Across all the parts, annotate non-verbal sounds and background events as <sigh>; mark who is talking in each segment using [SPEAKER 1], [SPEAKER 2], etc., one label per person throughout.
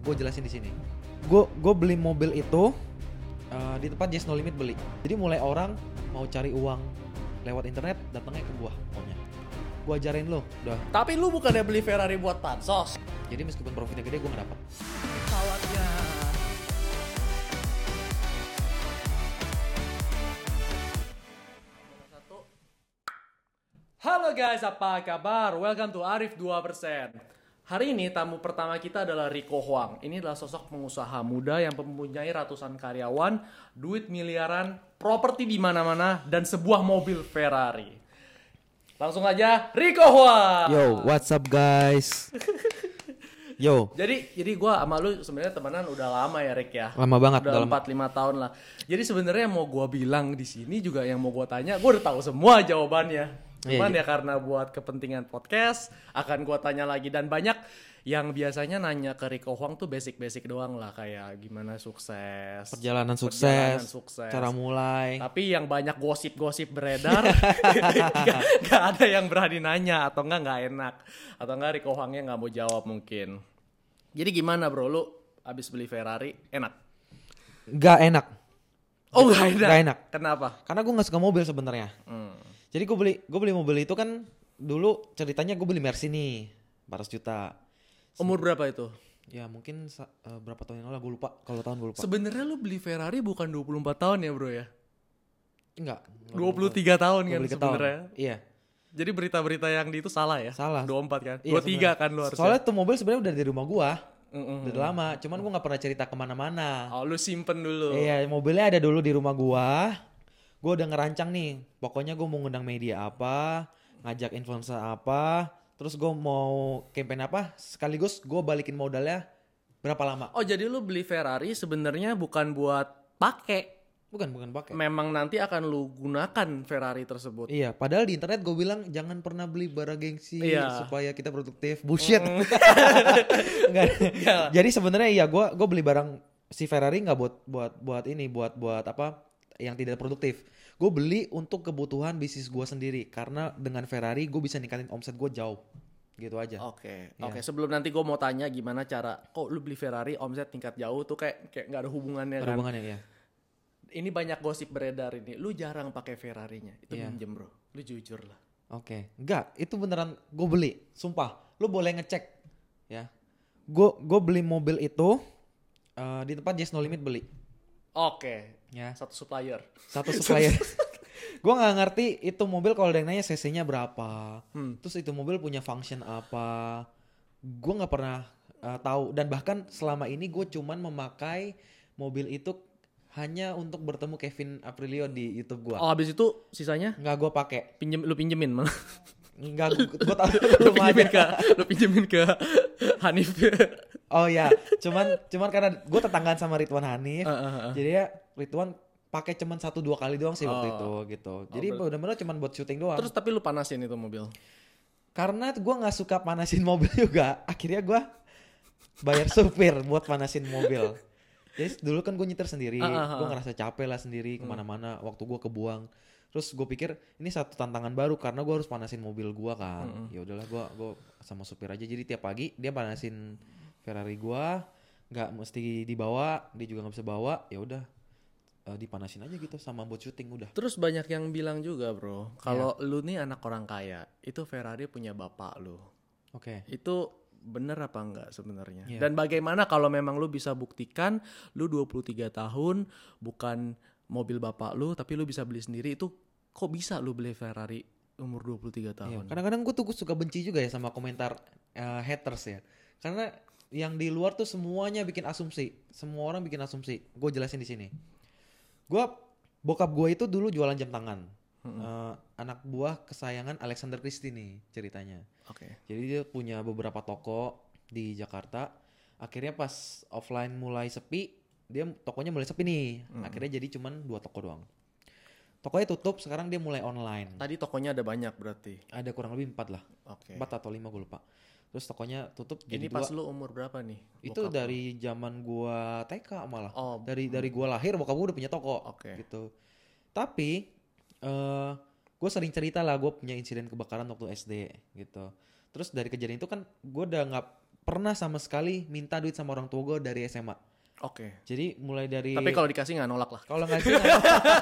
[SPEAKER 1] Gue jelasin di sini. Gue gue beli mobil itu eh, di tempat Yes No Limit beli. Jadi mulai orang mau cari uang lewat internet datangnya ke gua pokoknya. Gua ajarin lo, udah.
[SPEAKER 2] Tapi lu bukannya beli Ferrari buat pansos.
[SPEAKER 1] Jadi meskipun profitnya gede gua nggak dapat.
[SPEAKER 2] Kawannya. Halo guys, apa kabar? Welcome to Arif 2%. Hari ini tamu pertama kita adalah Rico Huang. Ini adalah sosok pengusaha muda yang mempunyai ratusan karyawan, duit miliaran, properti di mana-mana, dan sebuah mobil Ferrari. Langsung aja, Rico Huang!
[SPEAKER 1] Yo, what's up guys? <laughs> Yo,
[SPEAKER 2] Jadi jadi gua sama lu sebenarnya temenan udah lama ya Rick ya.
[SPEAKER 1] lama banget
[SPEAKER 2] Udah
[SPEAKER 1] dalam
[SPEAKER 2] empat lima tahun lah. Jadi sebenarnya yang mau gua bilang di sini juga yang mau gua tanya, gua udah tahu semua jawabannya.
[SPEAKER 1] Iya,
[SPEAKER 2] Cuman ya karena buat kepentingan podcast akan gua tanya lagi dan banyak yang biasanya nanya ke Rico Huang tuh basic-basic doang lah kayak gimana sukses.
[SPEAKER 1] perjalanan sukses,
[SPEAKER 2] Perjalanan sukses.
[SPEAKER 1] cara mulai.
[SPEAKER 2] Tapi yang banyak gosip-gosip
[SPEAKER 1] <laughs>
[SPEAKER 2] beredar, gak, gak ada yang berani nanya atau enggak nggak enak atau enggak Rico Huangnya nggak mau jawab mungkin. Jadi gimana bro, lu abis beli Ferrari enak?
[SPEAKER 1] Gak enak.
[SPEAKER 2] Oh nggak enak.
[SPEAKER 1] Nggak enak.
[SPEAKER 2] Kenapa?
[SPEAKER 1] Karena gue nggak suka mobil sebenarnya.
[SPEAKER 2] Hmm.
[SPEAKER 1] Jadi gue beli gue beli mobil itu kan dulu ceritanya gue beli Mercy nih 400 juta.
[SPEAKER 2] Umur berapa itu?
[SPEAKER 1] Ya mungkin sa- eh, berapa tahun yang lalu gue lupa. Kalau tahun gue lupa.
[SPEAKER 2] Sebenarnya lu beli Ferrari bukan 24 tahun ya bro ya?
[SPEAKER 1] Enggak.
[SPEAKER 2] 23 tahun kan
[SPEAKER 1] 23 tahun.
[SPEAKER 2] sebenarnya.
[SPEAKER 1] Iya.
[SPEAKER 2] Jadi berita-berita yang di itu salah ya?
[SPEAKER 1] Salah.
[SPEAKER 2] 24 kan?
[SPEAKER 1] Iya,
[SPEAKER 2] 23 kan lu harusnya. Hmm.
[SPEAKER 1] Soalnya tuh mobil sebenarnya udah di rumah gua
[SPEAKER 2] Mm-mm.
[SPEAKER 1] udah lama. Cuman gua nggak pernah cerita kemana-mana.
[SPEAKER 2] Oh, lu simpen dulu.
[SPEAKER 1] Iya mobilnya ada dulu di rumah gua. Gua udah ngerancang nih. Pokoknya gua mau ngundang media apa, ngajak influencer apa, terus gua mau campaign apa. Sekaligus gua balikin modalnya berapa lama?
[SPEAKER 2] Oh jadi lu beli Ferrari sebenarnya bukan buat pakai,
[SPEAKER 1] Bukan bukan pakai.
[SPEAKER 2] memang nanti akan lu gunakan Ferrari tersebut.
[SPEAKER 1] Iya, padahal di internet gue bilang jangan pernah beli bara gengsi
[SPEAKER 2] Iya.
[SPEAKER 1] supaya kita produktif. Bullshit. Nggak. Jadi sebenarnya iya gue gue beli barang si Ferrari nggak buat buat buat ini buat buat apa yang tidak produktif. Gue beli untuk kebutuhan bisnis gue sendiri karena dengan Ferrari gue bisa ningkatin omset gue jauh. Gitu
[SPEAKER 2] Iya. Oh,
[SPEAKER 1] aja.
[SPEAKER 2] Oke, oke. Sebelum nanti gue mau tanya gimana cara, kok lu beli Ferrari omset tingkat jauh tuh kayak kayak nggak ada hubungannya
[SPEAKER 1] Ada
[SPEAKER 2] kan?
[SPEAKER 1] hubungannya ya.
[SPEAKER 2] Ini banyak gosip beredar ini. Lu jarang pakai Ferrarinya, itu
[SPEAKER 1] Iya.
[SPEAKER 2] minjem bro. Lu jujur lah.
[SPEAKER 1] Oke, enggak itu beneran gue beli, sumpah. Lu boleh ngecek, ya. Gue gue beli mobil itu eh, di tempat Yes No Limit beli,
[SPEAKER 2] Oke,
[SPEAKER 1] ya.
[SPEAKER 2] satu supplier.
[SPEAKER 1] <laughs> satu supplier. gue nggak ngerti itu mobil kalau ada yang nanya CC-nya berapa,
[SPEAKER 2] Hmm.
[SPEAKER 1] terus itu mobil punya function apa, gue nggak pernah uh, tahu dan bahkan selama ini gue cuman memakai mobil itu hanya untuk bertemu Kevin Aprilio di YouTube gue.
[SPEAKER 2] Oh habis itu sisanya
[SPEAKER 1] Nggak gue pakai,
[SPEAKER 2] pinjem, lu pinjemin malah.
[SPEAKER 1] nggak gue tahu
[SPEAKER 2] <laughs> lu
[SPEAKER 1] belum ada.
[SPEAKER 2] pinjemin ke, lu pinjemin ke <laughs> Hanif.
[SPEAKER 1] Oh ya, cuman cuman karena gue tetanggaan sama Ridwan Hanif,
[SPEAKER 2] Eh, eh, eh.
[SPEAKER 1] jadi ya Ridwan pakai cuman satu dua kali doang sih waktu
[SPEAKER 2] Oh.
[SPEAKER 1] itu gitu. Jadi
[SPEAKER 2] berarti-
[SPEAKER 1] benar-benar cuman buat syuting doang.
[SPEAKER 2] Terus tapi lu panasin itu mobil.
[SPEAKER 1] karena gue nggak suka panasin mobil <laughs> juga akhirnya gue bayar supir buat panasin mobil jadi dulu kan gue nyetir sendiri
[SPEAKER 2] Ah, ah, ah.
[SPEAKER 1] gue ngerasa capek lah sendiri kemana-mana waktu gue kebuang terus gue pikir ini satu tantangan baru karena gue harus panasin mobil gue kan ya udahlah gue gue sama supir aja jadi tiap pagi dia panasin Ferrari gue nggak mesti dibawa dia juga nggak bisa bawa ya udah eh, dipanasin aja gitu sama buat syuting udah
[SPEAKER 2] Terus banyak yang bilang juga bro, kalau lu nih anak orang kaya, itu Ferrari punya bapak lu.
[SPEAKER 1] oke
[SPEAKER 2] Itu bener apa enggak sebenarnya?
[SPEAKER 1] Iya.
[SPEAKER 2] Dan bagaimana kalau memang lu bisa buktikan lu 23 tahun bukan mobil bapak lu tapi lu bisa beli sendiri itu kok bisa lu beli Ferrari umur 23
[SPEAKER 1] Iya,
[SPEAKER 2] tahun?
[SPEAKER 1] kadang-kadang gue tuh gua suka benci juga ya sama komentar eh, haters ya. Karena yang di luar tuh semuanya bikin asumsi. Semua orang bikin asumsi. Gue jelasin di sini. Gue bokap gue itu dulu jualan jam tangan.
[SPEAKER 2] Mm-mm.
[SPEAKER 1] Eh, anak buah kesayangan Alexander Christie nih ceritanya.
[SPEAKER 2] Oke.
[SPEAKER 1] Jadi dia punya beberapa toko di Jakarta. Akhirnya pas offline mulai sepi, dia tokonya mulai sepi nih.
[SPEAKER 2] Mm.
[SPEAKER 1] Akhirnya jadi cuman dua toko doang. Tokonya tutup, sekarang dia mulai online.
[SPEAKER 2] Tadi tokonya ada banyak berarti.
[SPEAKER 1] Ada kurang lebih empat lah
[SPEAKER 2] Oke.
[SPEAKER 1] empat atau lima gue lupa terus tokonya tutup jadi
[SPEAKER 2] Ini
[SPEAKER 1] dua
[SPEAKER 2] pas lu umur berapa nih?
[SPEAKER 1] itu
[SPEAKER 2] bokap lu?
[SPEAKER 1] dari zaman gua TK malah
[SPEAKER 2] Oh,
[SPEAKER 1] dari dari gua lahir bokap gua udah punya toko
[SPEAKER 2] oke.
[SPEAKER 1] gitu tapi eh gue sering cerita lah gue punya insiden kebakaran waktu SD gitu terus dari kejadian itu kan gue udah nggak pernah sama sekali minta duit sama orang tua gue dari SMA.
[SPEAKER 2] Oke.
[SPEAKER 1] Jadi mulai dari
[SPEAKER 2] Tapi kalau dikasih nggak nolak lah.
[SPEAKER 1] kalau nggak sih <laughs>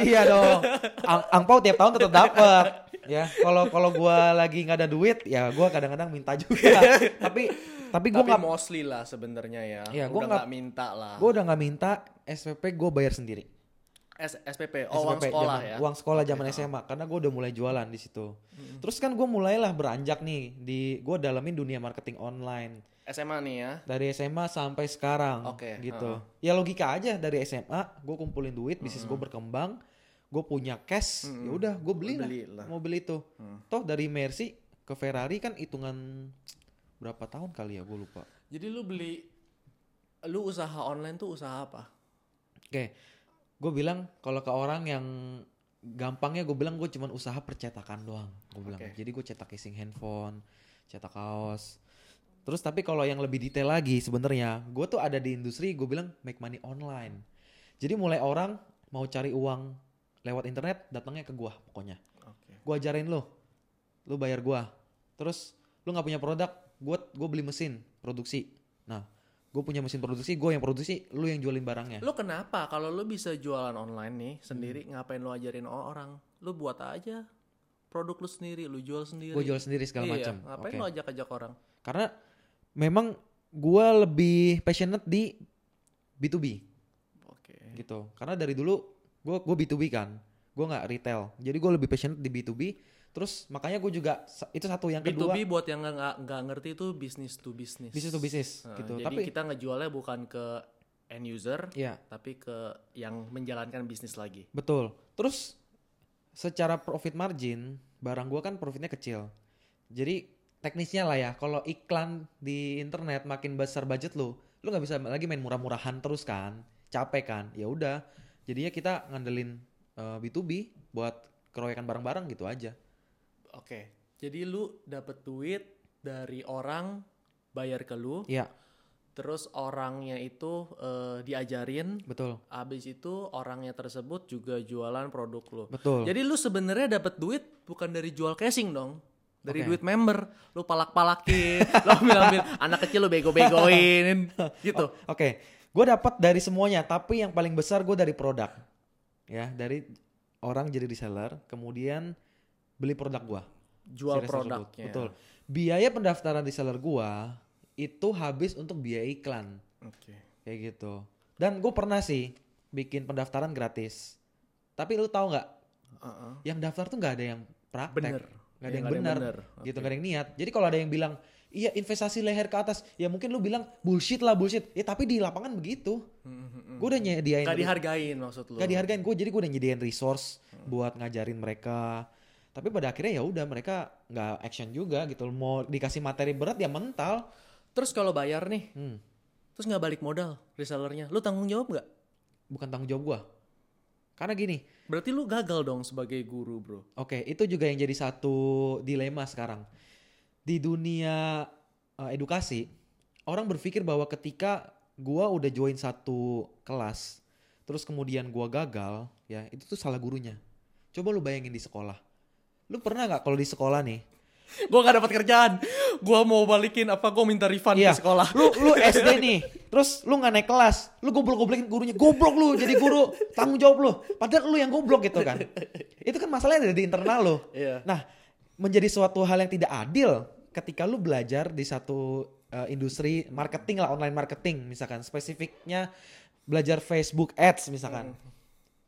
[SPEAKER 1] iya dong. Ang- angpau tiap tahun tetap dapat. Ya, kalau kalau gua lagi nggak ada duit, ya gua kadang-kadang minta juga.
[SPEAKER 2] <laughs>
[SPEAKER 1] tapi tapi gua
[SPEAKER 2] Tapi
[SPEAKER 1] nggak
[SPEAKER 2] mostly lah sebenarnya ya.
[SPEAKER 1] Iya, gua
[SPEAKER 2] Udah
[SPEAKER 1] nggak-
[SPEAKER 2] nggak minta lah.
[SPEAKER 1] gua udah nggak minta SPP gua bayar sendiri.
[SPEAKER 2] S- SPP, oh, uang
[SPEAKER 1] SPP,
[SPEAKER 2] sekolah
[SPEAKER 1] zaman-
[SPEAKER 2] ya.
[SPEAKER 1] Uang sekolah zaman SMA karena gua udah mulai jualan di situ. Terus kan gua mulailah beranjak nih di gua dalamin dunia marketing online.
[SPEAKER 2] SMA nih ya.
[SPEAKER 1] dari SMA sampai sekarang
[SPEAKER 2] Oke,
[SPEAKER 1] gitu ya logika aja dari SMA gue kumpulin duit bisnis gue berkembang gue punya cash ya udah gue beli,
[SPEAKER 2] Lu
[SPEAKER 1] lah
[SPEAKER 2] beli lah.
[SPEAKER 1] mau beli itu toh dari Mercy ke Ferrari kan hitungan berapa tahun kali ya gue lupa oke
[SPEAKER 2] Jadi lu beli lu usaha online tuh usaha apa?
[SPEAKER 1] gue bilang kalau ke orang yang gampangnya gue bilang gue cuman usaha percetakan doang gue bilang
[SPEAKER 2] Oke.
[SPEAKER 1] jadi gue cetak casing handphone cetak kaos terus tapi kalau yang lebih detail lagi sebenarnya gue tuh ada di industri gue bilang make money online jadi mulai orang mau cari uang lewat internet datangnya ke gue pokoknya
[SPEAKER 2] Oke.
[SPEAKER 1] gue ajarin lo lo bayar gue terus lo nggak punya produk gue gue beli mesin produksi nah gue punya mesin produksi gue yang produksi lo yang jualin barangnya
[SPEAKER 2] Lu kenapa kalau lu bisa jualan online nih
[SPEAKER 1] Hmm.
[SPEAKER 2] sendiri ngapain lu ajarin orang? Lu buat aja produk lu sendiri, lu jual sendiri.
[SPEAKER 1] gue jual sendiri segala
[SPEAKER 2] Iya,
[SPEAKER 1] macam
[SPEAKER 2] Ngapain
[SPEAKER 1] Oke.
[SPEAKER 2] lu ajak-ajak orang?
[SPEAKER 1] Karena memang gue lebih passionate di B2B
[SPEAKER 2] Oke.
[SPEAKER 1] gitu. Karena dari dulu gue gue B2B kan, gue nggak retail. Jadi gue lebih passionate di B2B. Terus makanya gue juga sa- itu satu yang kedua
[SPEAKER 2] B2B buat yang nggak- nggak nggak ngerti itu bisnis to bisnis.
[SPEAKER 1] bisnis to bisnis
[SPEAKER 2] Nah,
[SPEAKER 1] gitu.
[SPEAKER 2] Jadi
[SPEAKER 1] Tapi
[SPEAKER 2] kita ngejualnya bukan ke end user,
[SPEAKER 1] ya
[SPEAKER 2] tapi ke yang menjalankan bisnis lagi.
[SPEAKER 1] betul. Terus secara profit margin barang gue kan profitnya kecil. Jadi teknisnya lah ya. Kalau iklan di internet makin besar budget lo, lo nggak bisa lagi main murah-murahan terus kan, capek kan. Ya udah. Jadinya kita ngandelin eh, B2B buat keroyokan barang-barang gitu aja.
[SPEAKER 2] Oke. Jadi lu dapet duit dari orang bayar ke lu,
[SPEAKER 1] Iya,
[SPEAKER 2] terus orangnya itu eh, diajarin,
[SPEAKER 1] betul.
[SPEAKER 2] abis itu orangnya tersebut juga jualan produk lu.
[SPEAKER 1] Betul.
[SPEAKER 2] Jadi lu sebenarnya dapat duit bukan dari jual casing dong. Dari
[SPEAKER 1] Oke.
[SPEAKER 2] duit member, lu palak-palakin, <laughs> lu ambil-ambil anak kecil lu
[SPEAKER 1] <laughs>
[SPEAKER 2] bego-begoin
[SPEAKER 1] Oh,
[SPEAKER 2] gitu.
[SPEAKER 1] Oke, gue dapat dari semuanya, tapi yang paling besar gue dari produk, ya dari orang jadi reseller, kemudian beli produk gue.
[SPEAKER 2] Jual
[SPEAKER 1] Series tersebut.
[SPEAKER 2] produknya.
[SPEAKER 1] Betul. Biaya pendaftaran reseller gue itu habis untuk biaya iklan,
[SPEAKER 2] Oke.
[SPEAKER 1] kayak gitu. Dan gue pernah sih bikin pendaftaran gratis, tapi lu tahu nggak,
[SPEAKER 2] Heeh.
[SPEAKER 1] yang daftar tuh nggak ada yang praktek,
[SPEAKER 2] Bener.
[SPEAKER 1] Iya, nggak ada yang benar, gitu nggak ada yang niat. Jadi kalau ada yang bilang Iya investasi leher ke atas Ya mungkin lu bilang Bullshit lah bullshit Ya tapi di lapangan begitu Gue udah nyediain
[SPEAKER 2] Gak dihargain maksud lu.
[SPEAKER 1] gitu. Gak dihargain gue jadi gue udah nyediain resource buat ngajarin mereka tapi pada akhirnya ya udah mereka nggak action juga gitu mau dikasih materi berat ya mental
[SPEAKER 2] Terus kalau bayar nih,
[SPEAKER 1] Hmm.
[SPEAKER 2] terus nggak balik modal resellernya, lu tanggung jawab nggak?
[SPEAKER 1] bukan tanggung jawab gue karena gini
[SPEAKER 2] Berarti lu gagal dong sebagai guru bro.
[SPEAKER 1] oke itu juga yang jadi satu dilema sekarang di dunia eh, edukasi orang berpikir bahwa ketika gue udah join satu kelas terus kemudian gue gagal ya itu tuh salah gurunya coba lu bayangin di sekolah lu pernah nggak kalau di sekolah nih
[SPEAKER 2] <laughs> gua gak dapat kerjaan, gua mau balikin apa gua minta refund
[SPEAKER 1] Iya.
[SPEAKER 2] ke sekolah.
[SPEAKER 1] Lu lu SD nih, terus lu nggak naik kelas, lu goblok-goblokin gurunya, goblok lu jadi guru, tanggung jawab lu. Padahal lu yang goblok gitu kan. Itu kan masalahnya ada di internal lu.
[SPEAKER 2] Iya.
[SPEAKER 1] Nah, menjadi suatu hal yang tidak adil ketika lu belajar di satu eh, industri marketing lah, online marketing misalkan, spesifiknya belajar Facebook Ads misalkan.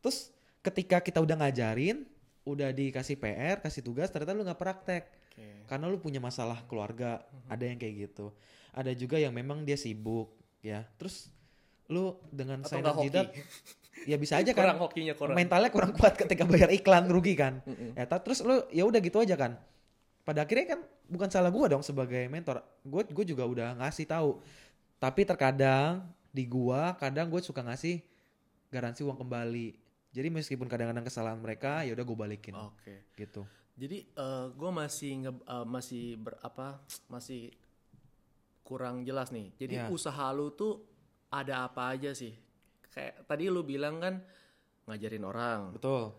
[SPEAKER 1] Terus ketika kita udah ngajarin, udah dikasih PR, kasih tugas, ternyata lu nggak praktek karena lu punya masalah keluarga
[SPEAKER 2] Mhm.
[SPEAKER 1] ada yang kayak gitu ada juga yang memang dia sibuk ya terus lu dengan
[SPEAKER 2] Atau
[SPEAKER 1] saya
[SPEAKER 2] nggak hoki.
[SPEAKER 1] jidat ya bisa aja
[SPEAKER 2] kurang
[SPEAKER 1] kan
[SPEAKER 2] hokinya kurang. Mhm.
[SPEAKER 1] mentalnya kurang kuat ketika bayar iklan rugi kan ya ta- terus lu ya udah gitu aja kan pada akhirnya kan bukan salah gua dong sebagai mentor gue gue juga udah ngasih tahu tapi terkadang di gua kadang gue suka ngasih garansi uang kembali jadi meskipun kadang-kadang kesalahan mereka ya udah gue balikin
[SPEAKER 2] Oke.
[SPEAKER 1] gitu
[SPEAKER 2] Jadi eh gue masih nge, eh, masih ber- apa masih kurang jelas nih. Jadi
[SPEAKER 1] Iya.
[SPEAKER 2] usaha lu tuh ada apa aja sih? Kayak tadi lu bilang kan ngajarin orang,
[SPEAKER 1] betul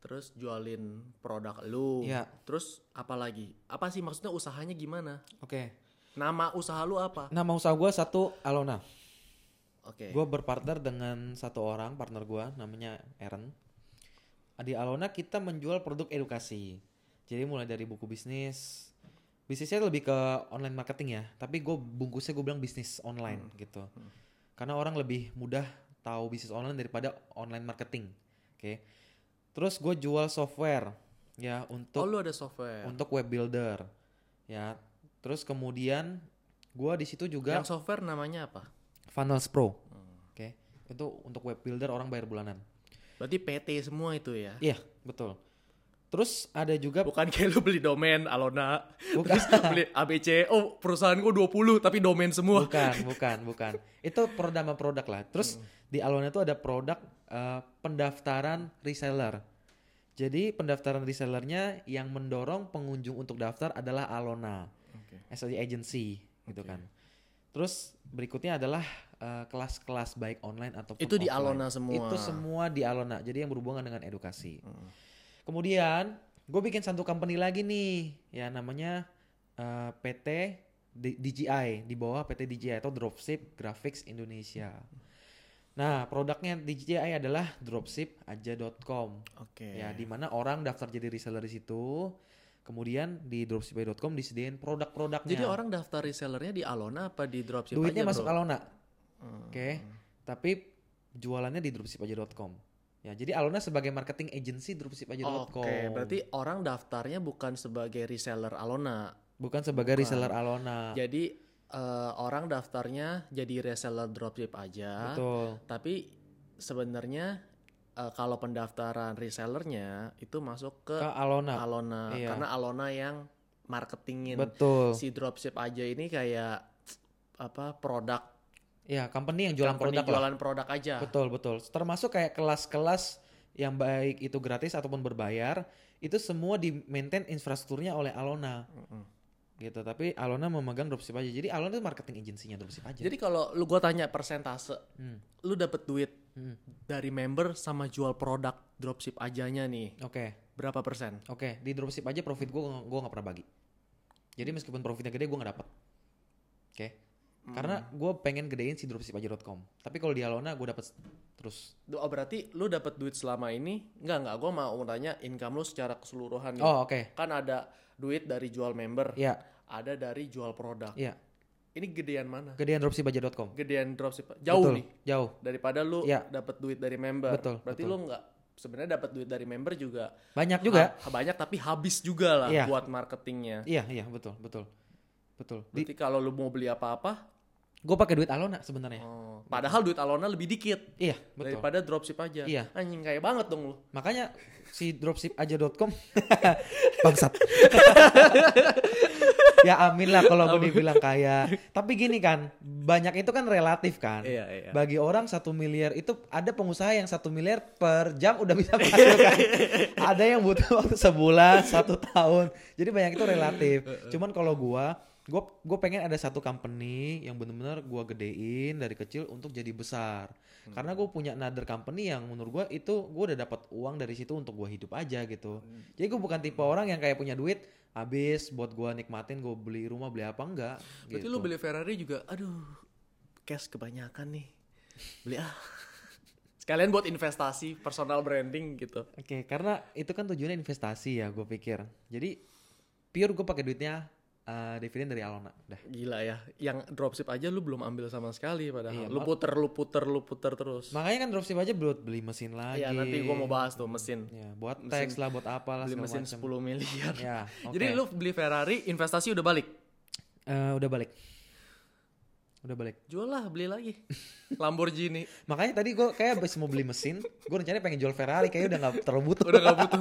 [SPEAKER 2] terus jualin produk lu,
[SPEAKER 1] Iya.
[SPEAKER 2] terus apa lagi? Apa sih maksudnya usahanya gimana?
[SPEAKER 1] Oke.
[SPEAKER 2] Nama usaha lu apa?
[SPEAKER 1] Nama usaha gue satu Alona.
[SPEAKER 2] Oke.
[SPEAKER 1] Gue berpartner dengan satu orang partner gue namanya Aaron. Di Alona kita menjual produk edukasi. Jadi mulai dari buku bisnis. Bisnisnya lebih ke online marketing ya. Tapi gue bungkusnya gue bilang bisnis online gitu. Karena orang lebih mudah tahu bisnis online daripada online marketing. Oke. Terus gue jual software ya untuk
[SPEAKER 2] Oh lu ada software.
[SPEAKER 1] untuk web builder ya terus kemudian gua di situ juga
[SPEAKER 2] Yang software namanya apa?
[SPEAKER 1] Funnels Pro oke itu untuk web builder orang bayar bulanan
[SPEAKER 2] Berarti PT semua itu ya.
[SPEAKER 1] iya betul terus ada juga
[SPEAKER 2] Bukan kayak lu beli domain Alona,
[SPEAKER 1] Bukan.
[SPEAKER 2] terus beli ABC, oh perusahaan gua 20 tapi domain semua.
[SPEAKER 1] bukan bukan bukan itu produk sama produk lah terus di Alona itu ada produk eh, pendaftaran reseller jadi pendaftaran resellernya yang mendorong pengunjung untuk daftar adalah Alona
[SPEAKER 2] Iya.
[SPEAKER 1] as a agency gitu kan terus berikutnya adalah eh, kelas-kelas baik online ataupun
[SPEAKER 2] Itu di
[SPEAKER 1] offline.
[SPEAKER 2] Alona semua.
[SPEAKER 1] itu semua di Alona jadi yang berhubungan dengan edukasi kemudian gue bikin satu company lagi nih ya namanya eh, PT D- DJI di bawah PT DJI atau Dropship Graphics Indonesia nah produknya DJI adalah dropshipaja.com
[SPEAKER 2] Oke.
[SPEAKER 1] ya di mana orang daftar jadi reseller di situ kemudian di dropship.com disediain produk-produknya
[SPEAKER 2] Jadi orang daftar resellernya di Alona apa di dropship
[SPEAKER 1] Ya. duitnya
[SPEAKER 2] aja,
[SPEAKER 1] masuk
[SPEAKER 2] bro?
[SPEAKER 1] Alona
[SPEAKER 2] Hmm.
[SPEAKER 1] oke tapi jualannya di dropshipaja.com ya jadi Alona sebagai marketing agency dropshipaja.com
[SPEAKER 2] Oke, berarti orang daftarnya bukan sebagai reseller Alona.
[SPEAKER 1] bukan sebagai
[SPEAKER 2] Bukan. Ya.
[SPEAKER 1] reseller Alona
[SPEAKER 2] Jadi eh, orang daftarnya jadi reseller dropship aja.
[SPEAKER 1] betul
[SPEAKER 2] Tapi sebenarnya eh, kalau pendaftaran resellernya itu masuk ke
[SPEAKER 1] ke Alona
[SPEAKER 2] Alona
[SPEAKER 1] Iya.
[SPEAKER 2] karena Alona yang marketingin
[SPEAKER 1] betul
[SPEAKER 2] si dropship aja ini kayak apa produk
[SPEAKER 1] ya company yang jualan produk
[SPEAKER 2] company
[SPEAKER 1] lah
[SPEAKER 2] jualan produk aja.
[SPEAKER 1] betul betul termasuk kayak kelas-kelas yang baik itu gratis ataupun berbayar itu semua di maintain infrastrukturnya oleh Alona
[SPEAKER 2] Mm-mm.
[SPEAKER 1] gitu tapi Alona memegang dropship aja jadi Alona itu marketing agensinya dropship aja
[SPEAKER 2] Jadi kalau lu gua tanya persentase,
[SPEAKER 1] Hmm,
[SPEAKER 2] lu dapet duit
[SPEAKER 1] hmm.
[SPEAKER 2] dari member sama jual produk dropship ajanya nih
[SPEAKER 1] oke
[SPEAKER 2] berapa persen?
[SPEAKER 1] Oke, di dropship aja profit gue gue nggak pernah bagi. Jadi meskipun profitnya gede gue nggak dapat. Oke. Karena
[SPEAKER 2] Hmm.
[SPEAKER 1] gue pengen gedein si dropshipaja.com. Tapi kalau di Alona gue dapat terus.
[SPEAKER 2] Oh berarti lu dapet duit selama ini? Enggak enggak, gua mau tanya income lu secara keseluruhan. nih.
[SPEAKER 1] Oh oke.
[SPEAKER 2] Kan ada duit dari jual member,
[SPEAKER 1] Iya,
[SPEAKER 2] ada dari jual produk.
[SPEAKER 1] iya.
[SPEAKER 2] Ini gedean mana?
[SPEAKER 1] Gedein dropshipaja.com.
[SPEAKER 2] Gedean dropship jauh
[SPEAKER 1] Betul,
[SPEAKER 2] nih
[SPEAKER 1] Jauh.
[SPEAKER 2] daripada lu
[SPEAKER 1] Iya.
[SPEAKER 2] dapet duit dari member.
[SPEAKER 1] Betul,
[SPEAKER 2] Berarti
[SPEAKER 1] betul.
[SPEAKER 2] lu enggak sebenarnya dapet duit dari member juga
[SPEAKER 1] Banyak juga.
[SPEAKER 2] ha- banyak tapi habis juga lah
[SPEAKER 1] Iya.
[SPEAKER 2] buat marketingnya.
[SPEAKER 1] Iya, iya, betul, betul. Betul. Di,
[SPEAKER 2] Berarti kalau lu mau beli apa-apa,
[SPEAKER 1] gue pakai duit Alona sebenarnya.
[SPEAKER 2] oh, padahal duit Alona lebih dikit
[SPEAKER 1] Iya, betul.
[SPEAKER 2] daripada dropship aja.
[SPEAKER 1] Iya.
[SPEAKER 2] Anjing kayak banget dong lu.
[SPEAKER 1] Makanya si dropshipaja.com <laughs> bangsat. <laughs> ya amin lah kalau gue dibilang kaya. Tapi gini kan, banyak itu kan relatif kan.
[SPEAKER 2] Iya, iya.
[SPEAKER 1] Bagi orang satu miliar itu ada pengusaha yang satu miliar per jam udah bisa masuk
[SPEAKER 2] <laughs>
[SPEAKER 1] kan. ada yang butuh waktu sebulan, satu tahun. Jadi banyak itu relatif. Cuman kalau gua gue gue pengen ada satu company yang bener-bener gua gedein dari kecil untuk jadi besar
[SPEAKER 2] Hmm.
[SPEAKER 1] karena gue punya another company yang menurut gue itu gue udah dapat uang dari situ untuk gue hidup aja gitu
[SPEAKER 2] Hmm.
[SPEAKER 1] jadi gue bukan tipe orang yang kayak punya duit habis buat gue nikmatin gue beli rumah beli apa enggak
[SPEAKER 2] Berarti
[SPEAKER 1] gitu.
[SPEAKER 2] lu beli Ferrari juga, aduh, cash kebanyakan nih. Beli ah. Sekalian buat investasi, personal branding gitu.
[SPEAKER 1] Oke, karena itu kan tujuannya investasi ya, gue pikir. Jadi pure gue pakai duitnya eh, dividen dari Alona, dah.
[SPEAKER 2] Gila ya, yang dropship aja lu belum ambil sama sekali
[SPEAKER 1] Iya,
[SPEAKER 2] padahal. lu
[SPEAKER 1] mak-
[SPEAKER 2] puter, lu puter, lu puter terus.
[SPEAKER 1] Makanya kan dropship aja buat beli mesin lagi.
[SPEAKER 2] Iya, nanti gua mau bahas tuh mesin.
[SPEAKER 1] Ya, buat
[SPEAKER 2] Mesin-
[SPEAKER 1] teks lah, buat apalah
[SPEAKER 2] Beli
[SPEAKER 1] segala
[SPEAKER 2] mesin
[SPEAKER 1] macam.
[SPEAKER 2] 10 miliar.
[SPEAKER 1] Ya, oke.
[SPEAKER 2] <laughs> Jadi lu beli Ferrari, investasi udah balik.
[SPEAKER 1] Eh, udah balik. Udah balik.
[SPEAKER 2] Jual lah, beli lagi. <laughs> Lamborghini.
[SPEAKER 1] Makanya tadi gue kayak abis mau beli mesin, gue rencananya pengen jual Ferrari, kayaknya udah nggak terlalu butuh.
[SPEAKER 2] Udah gak butuh.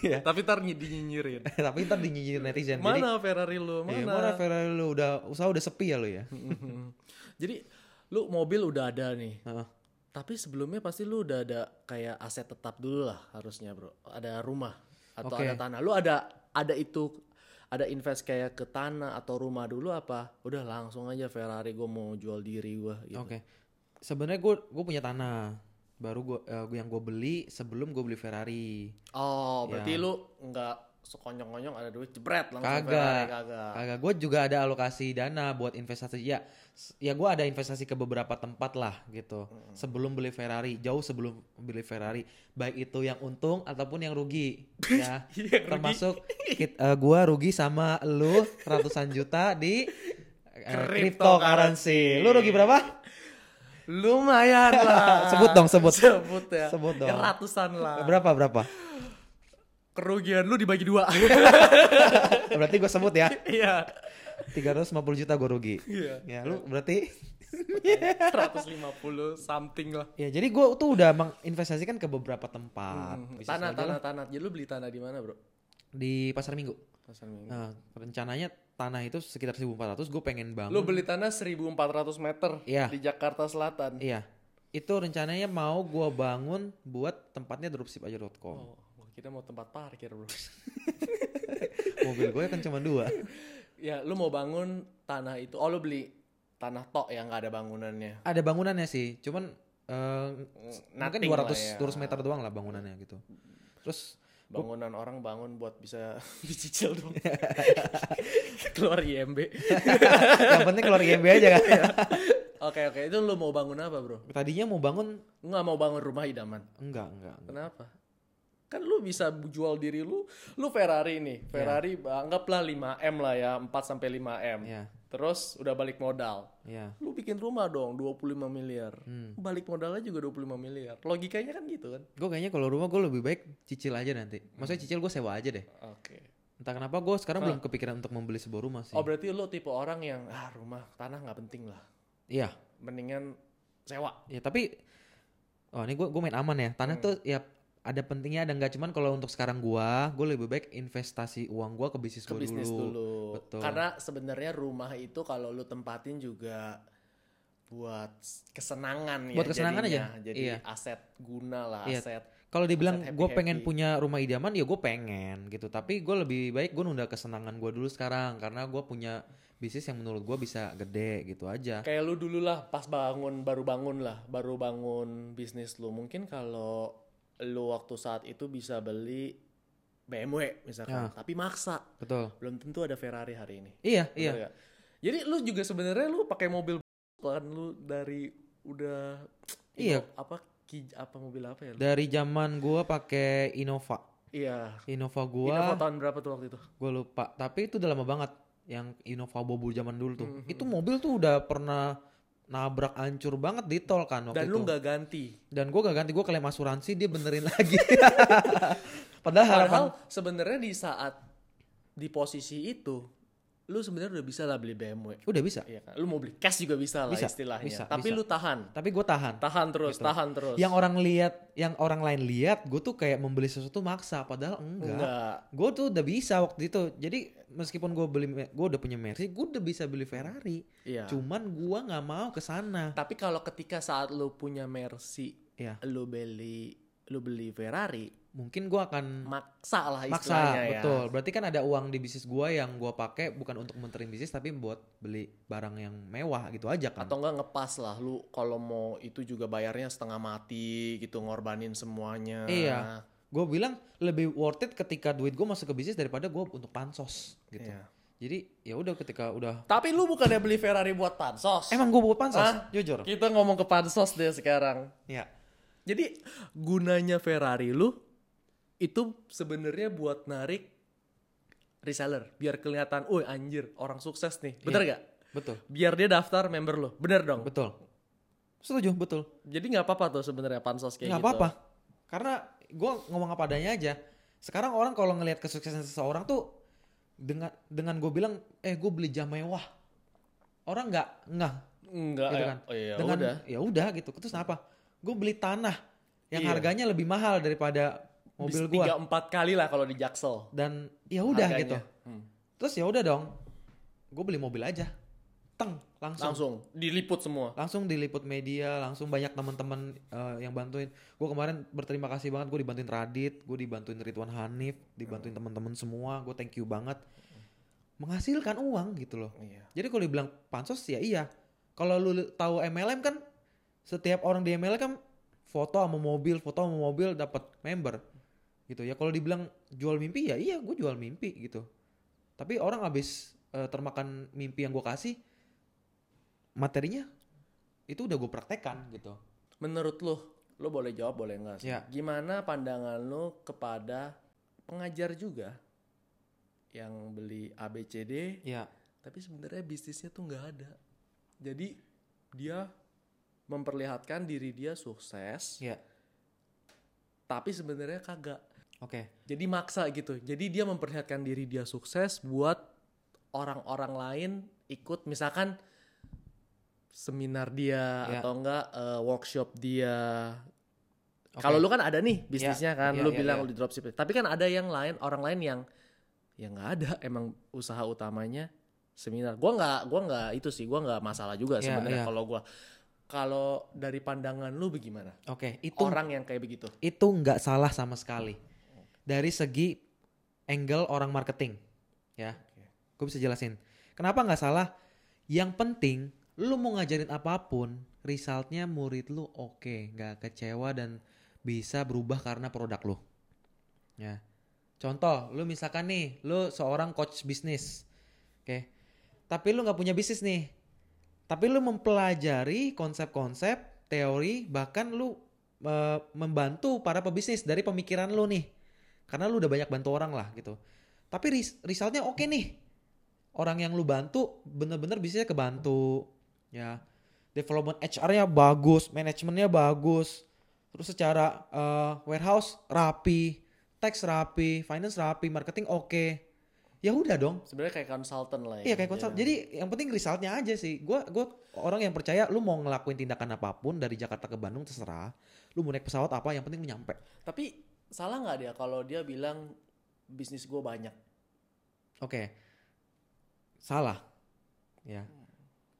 [SPEAKER 1] Iya.
[SPEAKER 2] Tapi ntar ny- dinyinyirin.
[SPEAKER 1] <laughs> Tapi ntar dinyinyir netizen. Jadi,
[SPEAKER 2] Mana <laughs> Ferrari lu?
[SPEAKER 1] iya, mana Ferrari lu udah usaha udah sepi ya lu ya.
[SPEAKER 2] Mhm. Jadi lu mobil udah ada nih.
[SPEAKER 1] Heeh.
[SPEAKER 2] Tapi sebelumnya pasti lu udah ada kayak aset tetap dulu lah harusnya, Bro. Ada rumah atau
[SPEAKER 1] Oke.
[SPEAKER 2] ada tanah. Lu ada ada itu ada invest kayak ke tanah atau rumah dulu apa? Udah langsung aja Ferrari gue mau jual diri gue gitu.
[SPEAKER 1] Oke. Sebenarnya gue gue punya tanah eh, baru gue yang gue beli sebelum gue beli Ferrari.
[SPEAKER 2] Oh, berarti lu nggak sekonyong-konyong ada duit jebret langsung Ferrari
[SPEAKER 1] Kagak.
[SPEAKER 2] kagak.
[SPEAKER 1] Kagak. Gue juga ada alokasi dana buat investasi. Ya, s- ya gue ada investasi ke beberapa tempat lah gitu.
[SPEAKER 2] Hmm.
[SPEAKER 1] Sebelum beli Ferrari, jauh sebelum beli Ferrari, baik itu yang untung ataupun yang
[SPEAKER 2] <laughs>
[SPEAKER 1] rugi. Ya,
[SPEAKER 2] Iya, rugi.
[SPEAKER 1] termasuk
[SPEAKER 2] <laughs>
[SPEAKER 1] kit- eh, gua gue rugi sama lu ratusan juta di eh, cryptocurrency.
[SPEAKER 2] Cryptocurrency.
[SPEAKER 1] Lu rugi berapa?
[SPEAKER 2] Lumayan lah.
[SPEAKER 1] <laughs> Sebut dong, sebut.
[SPEAKER 2] Sebut ya.
[SPEAKER 1] Sebut dong.
[SPEAKER 2] Ya, ratusan lah.
[SPEAKER 1] Berapa berapa?
[SPEAKER 2] Kerugian lu
[SPEAKER 1] <laughs>
[SPEAKER 2] dibagi dua.
[SPEAKER 1] Iya. Berarti gue sebut ya.
[SPEAKER 2] <laughs> Iya.
[SPEAKER 1] 350 juta gue rugi.
[SPEAKER 2] Iya.
[SPEAKER 1] Ya, lu berarti
[SPEAKER 2] 150 something lah.
[SPEAKER 1] <laughs> Ya, jadi gue tuh udah menginvestasikan ke beberapa tempat. Ah, Bisnis
[SPEAKER 2] Hmm, Tanah,
[SPEAKER 1] modal
[SPEAKER 2] tanah, tanah. Jadi lu beli tanah di mana, Bro?
[SPEAKER 1] di pasar minggu.
[SPEAKER 2] Pasar Minggu.
[SPEAKER 1] Nah, rencananya tanah itu sekitar 1.400, gue pengen bangun.
[SPEAKER 2] Lu beli tanah 1400 meter
[SPEAKER 1] Iya.
[SPEAKER 2] di Jakarta Selatan.
[SPEAKER 1] Iya, itu rencananya mau gue bangun buat tempatnya dropshipaja.com.
[SPEAKER 2] Oh, kita mau tempat parkir, Bro. <laughs>
[SPEAKER 1] Mobil gue kan cuma dua.
[SPEAKER 2] ya, lu mau bangun tanah itu. Oh, lu beli tanah tok yang nggak ada bangunannya.
[SPEAKER 1] Ada bangunannya sih, cuman eh, mungkin
[SPEAKER 2] Nothing
[SPEAKER 1] 200
[SPEAKER 2] lah
[SPEAKER 1] 200
[SPEAKER 2] ya.
[SPEAKER 1] meter doang lah bangunannya gitu.
[SPEAKER 2] <laughs>
[SPEAKER 1] Terus
[SPEAKER 2] Bangunan orang bangun buat bisa <laughs> dicicil dong. Keluar IMB.
[SPEAKER 1] yang penting keluar IMB aja kan.
[SPEAKER 2] Iya. Oke oke itu lu mau bangun apa bro?
[SPEAKER 1] Tadinya mau bangun
[SPEAKER 2] Lu nggak mau bangun rumah idaman?
[SPEAKER 1] enggak enggak. enggak.
[SPEAKER 2] Kenapa? Kan lu bisa jual diri lu, lu Ferrari nih, Ferrari anggaplah 5M lah ya, 4 sampai 5M.
[SPEAKER 1] Iya,
[SPEAKER 2] Terus udah balik modal.
[SPEAKER 1] iya. Hmm.
[SPEAKER 2] Lu bikin rumah dong 25 miliar. Balik modalnya juga 25 miliar. Logikanya kan gitu kan.
[SPEAKER 1] Gue kayaknya kalau rumah gue lebih baik cicil aja nanti. Maksudnya
[SPEAKER 2] Hmm.
[SPEAKER 1] cicil gue sewa aja deh.
[SPEAKER 2] Oke.
[SPEAKER 1] Entah kenapa gue sekarang belum kepikiran untuk membeli sebuah rumah sih.
[SPEAKER 2] Oh berarti lu tipe orang yang ah rumah tanah nggak penting lah.
[SPEAKER 1] Iya.
[SPEAKER 2] Mendingan sewa.
[SPEAKER 1] Ya tapi oh ini gue gue main aman ya. Tanah
[SPEAKER 2] Hmm.
[SPEAKER 1] tuh ya ada pentingnya ada nggak cuman kalau untuk sekarang gua gue lebih baik investasi uang gua ke bisnis
[SPEAKER 2] ke
[SPEAKER 1] gue
[SPEAKER 2] bisnis dulu.
[SPEAKER 1] Betul.
[SPEAKER 2] Karena sebenarnya rumah itu kalau lu tempatin juga buat kesenangan ya.
[SPEAKER 1] Buat kesenangan
[SPEAKER 2] jadinya.
[SPEAKER 1] aja,
[SPEAKER 2] Jadi
[SPEAKER 1] iya.
[SPEAKER 2] aset guna lah
[SPEAKER 1] Iya.
[SPEAKER 2] aset.
[SPEAKER 1] Kalau dibilang gue
[SPEAKER 2] Aset happy-happy.
[SPEAKER 1] pengen punya rumah idaman ya gue pengen gitu. Tapi gue lebih baik gue nunda kesenangan gua dulu sekarang karena gua punya bisnis yang menurut gua bisa gede gitu aja.
[SPEAKER 2] Kayak lu dulu lah pas bangun baru bangun lah baru bangun bisnis lu mungkin kalau lu waktu saat itu bisa beli BMW
[SPEAKER 1] Ya.
[SPEAKER 2] misalkan tapi maksa
[SPEAKER 1] Betul.
[SPEAKER 2] belum tentu ada Ferrari hari ini.
[SPEAKER 1] Iya
[SPEAKER 2] Bener
[SPEAKER 1] iya.
[SPEAKER 2] nggak? Jadi lu juga sebenarnya lu pakai mobil kan lu dari udah
[SPEAKER 1] Iya.
[SPEAKER 2] apa ki- apa mobil apa ya? lu?
[SPEAKER 1] Dari zaman gua pakai Innova.
[SPEAKER 2] Iya,
[SPEAKER 1] Innova
[SPEAKER 2] Ini
[SPEAKER 1] gua
[SPEAKER 2] mau tahun berapa tuh waktu itu?
[SPEAKER 1] gue lupa tapi itu udah lama banget yang Innova Bobo zaman dulu tuh
[SPEAKER 2] Mm-hmm.
[SPEAKER 1] itu mobil tuh udah pernah nabrak hancur banget di tol kan waktu
[SPEAKER 2] Dan
[SPEAKER 1] itu
[SPEAKER 2] lu nggak ganti.
[SPEAKER 1] dan gue gak ganti gue klaim asuransi dia benerin <laughs> lagi padahal harapan
[SPEAKER 2] Padahal sebenarnya di saat di posisi itu, lu sebenarnya udah bisa lah beli BMW.
[SPEAKER 1] udah bisa
[SPEAKER 2] Iya kan? Lu mau beli cash juga bisa lah
[SPEAKER 1] Bisa,
[SPEAKER 2] istilahnya.
[SPEAKER 1] bisa,
[SPEAKER 2] Tapi
[SPEAKER 1] bisa.
[SPEAKER 2] lu tahan,
[SPEAKER 1] tapi gue tahan
[SPEAKER 2] tahan terus, tahan terus.
[SPEAKER 1] yang orang lihat yang orang lain lihat gue tuh kayak membeli sesuatu maksa padahal enggak,
[SPEAKER 2] enggak.
[SPEAKER 1] gue tuh udah bisa waktu itu jadi meskipun gue beli gue udah punya Mercy gue udah bisa beli Ferrari
[SPEAKER 2] Iya.
[SPEAKER 1] cuman gue nggak mau ke sana
[SPEAKER 2] Tapi kalau ketika saat lu punya Mercy,
[SPEAKER 1] ya
[SPEAKER 2] lu beli lu beli Ferrari,
[SPEAKER 1] mungkin gue akan
[SPEAKER 2] maksa lah
[SPEAKER 1] maksa
[SPEAKER 2] istilahnya ya.
[SPEAKER 1] betul berarti kan ada uang di bisnis gua yang gua pakai bukan untuk menterin bisnis tapi buat beli barang yang mewah gitu aja kan
[SPEAKER 2] Atau enggak ngepas lah lu kalau mau itu juga bayarnya setengah mati gitu ngorbanin semuanya.
[SPEAKER 1] Iya. Gua bilang lebih worth it ketika duit gua masuk ke bisnis daripada gua untuk pansos gitu
[SPEAKER 2] Iya.
[SPEAKER 1] jadi ya udah ketika udah
[SPEAKER 2] Tapi lu bukannya beli Ferrari buat pansos.
[SPEAKER 1] emang gua buat pansos
[SPEAKER 2] Hah?
[SPEAKER 1] jujur
[SPEAKER 2] Kita ngomong ke pansos deh sekarang.
[SPEAKER 1] ya
[SPEAKER 2] Jadi gunanya Ferrari lu itu sebenarnya buat narik reseller biar kelihatan, "Woi anjir, orang sukses nih." Bener gak?
[SPEAKER 1] betul
[SPEAKER 2] Biar dia daftar member lu. Bener dong.
[SPEAKER 1] betul setuju betul
[SPEAKER 2] Jadi nggak apa-apa tuh sebenarnya pansos
[SPEAKER 1] nggak
[SPEAKER 2] kayak gitu.
[SPEAKER 1] apa-apa karena gua ngomong apa adanya aja sekarang orang kalau ngelihat kesuksesan seseorang tuh dengan dengan gue bilang eh gue beli jam mewah orang nggak nggak
[SPEAKER 2] Enggak
[SPEAKER 1] gitu
[SPEAKER 2] ya.
[SPEAKER 1] kan.
[SPEAKER 2] Oh, iya,
[SPEAKER 1] Dengan
[SPEAKER 2] udah.
[SPEAKER 1] ya udah gitu. Terus apa? Gue beli tanah yang
[SPEAKER 2] Iya.
[SPEAKER 1] harganya lebih mahal daripada mobil
[SPEAKER 2] Bisa
[SPEAKER 1] gua
[SPEAKER 2] tiga empat kali lah kalau di Jaksel.
[SPEAKER 1] dan ya udah
[SPEAKER 2] harganya.
[SPEAKER 1] gitu.
[SPEAKER 2] Hmm.
[SPEAKER 1] Terus ya udah dong. Gue beli mobil aja. Teng, langsung
[SPEAKER 2] Langsung diliput semua.
[SPEAKER 1] langsung diliput media, langsung banyak teman-teman eh, yang bantuin. Gue kemarin berterima kasih banget gue dibantuin Radit, gue dibantuin Ridwan Hanif, dibantuin teman-teman semua. Gue thank you banget. Menghasilkan uang gitu loh.
[SPEAKER 2] Iya.
[SPEAKER 1] Jadi kalau dibilang pansos ya iya. Kalau lu li- tahu MLM kan setiap orang di MLM kan foto sama mobil, foto sama mobil dapat member. gitu ya kalau dibilang jual mimpi ya iya gue jual mimpi gitu tapi orang abis eh, termakan mimpi yang gue kasih materinya itu udah gue praktekan gitu
[SPEAKER 2] Menurut lu, lu boleh jawab boleh enggak sih?
[SPEAKER 1] Ya.
[SPEAKER 2] Gimana pandangan lu kepada pengajar juga yang beli ABCD
[SPEAKER 1] ya
[SPEAKER 2] tapi sebenarnya bisnisnya tuh nggak ada. Jadi dia memperlihatkan diri dia sukses
[SPEAKER 1] ya
[SPEAKER 2] tapi sebenarnya kagak.
[SPEAKER 1] oke
[SPEAKER 2] Jadi maksa gitu. Jadi dia memperlihatkan diri dia sukses buat orang-orang lain ikut misalkan seminar dia
[SPEAKER 1] Ya.
[SPEAKER 2] atau enggak eh, workshop dia.
[SPEAKER 1] Oke.
[SPEAKER 2] Kalau lu kan ada nih bisnisnya
[SPEAKER 1] Ya,
[SPEAKER 2] kan,
[SPEAKER 1] ya,
[SPEAKER 2] lu
[SPEAKER 1] ya,
[SPEAKER 2] bilang
[SPEAKER 1] ya.
[SPEAKER 2] lu di dropship. Tapi kan ada yang lain orang lain yang yang nggak ada <laughs> emang usaha utamanya seminar. Gua nggak gua nggak itu sih, gua nggak masalah juga
[SPEAKER 1] Ya,
[SPEAKER 2] sebenarnya
[SPEAKER 1] ya.
[SPEAKER 2] kalau gua kalau dari pandangan lu bagaimana?
[SPEAKER 1] oke itu
[SPEAKER 2] Orang yang kayak begitu.
[SPEAKER 1] itu nggak salah sama sekali dari segi angle orang marketing ya gue bisa jelasin kenapa nggak salah yang penting lu mau ngajarin apapun resultnya murid lu oke nggak kecewa dan bisa berubah karena produk lu ya contoh lu misalkan nih lu seorang coach bisnis oke tapi lu nggak punya bisnis nih tapi lu mempelajari konsep-konsep teori bahkan lu eh, membantu para pebisnis dari pemikiran lu nih karena lu udah banyak bantu orang lah gitu tapi ris- resultnya oke nih orang yang lu bantu bener-bener bisnisnya kebantu ya development HR-nya bagus manajemennya bagus terus secara eh, warehouse rapi tax rapi finance rapi marketing oke ya udah dong
[SPEAKER 2] Sebenarnya kayak konsultan lah ya.
[SPEAKER 1] Iya kayak konsult. Jadi yang penting resultnya aja sih. Gua gua orang yang percaya lu mau ngelakuin tindakan apapun dari Jakarta ke Bandung terserah. Lu mau naik pesawat apa yang penting lu nyampe.
[SPEAKER 2] Tapi salah nggak dia kalau dia bilang bisnis gue banyak?
[SPEAKER 1] Oke. Salah. Ya.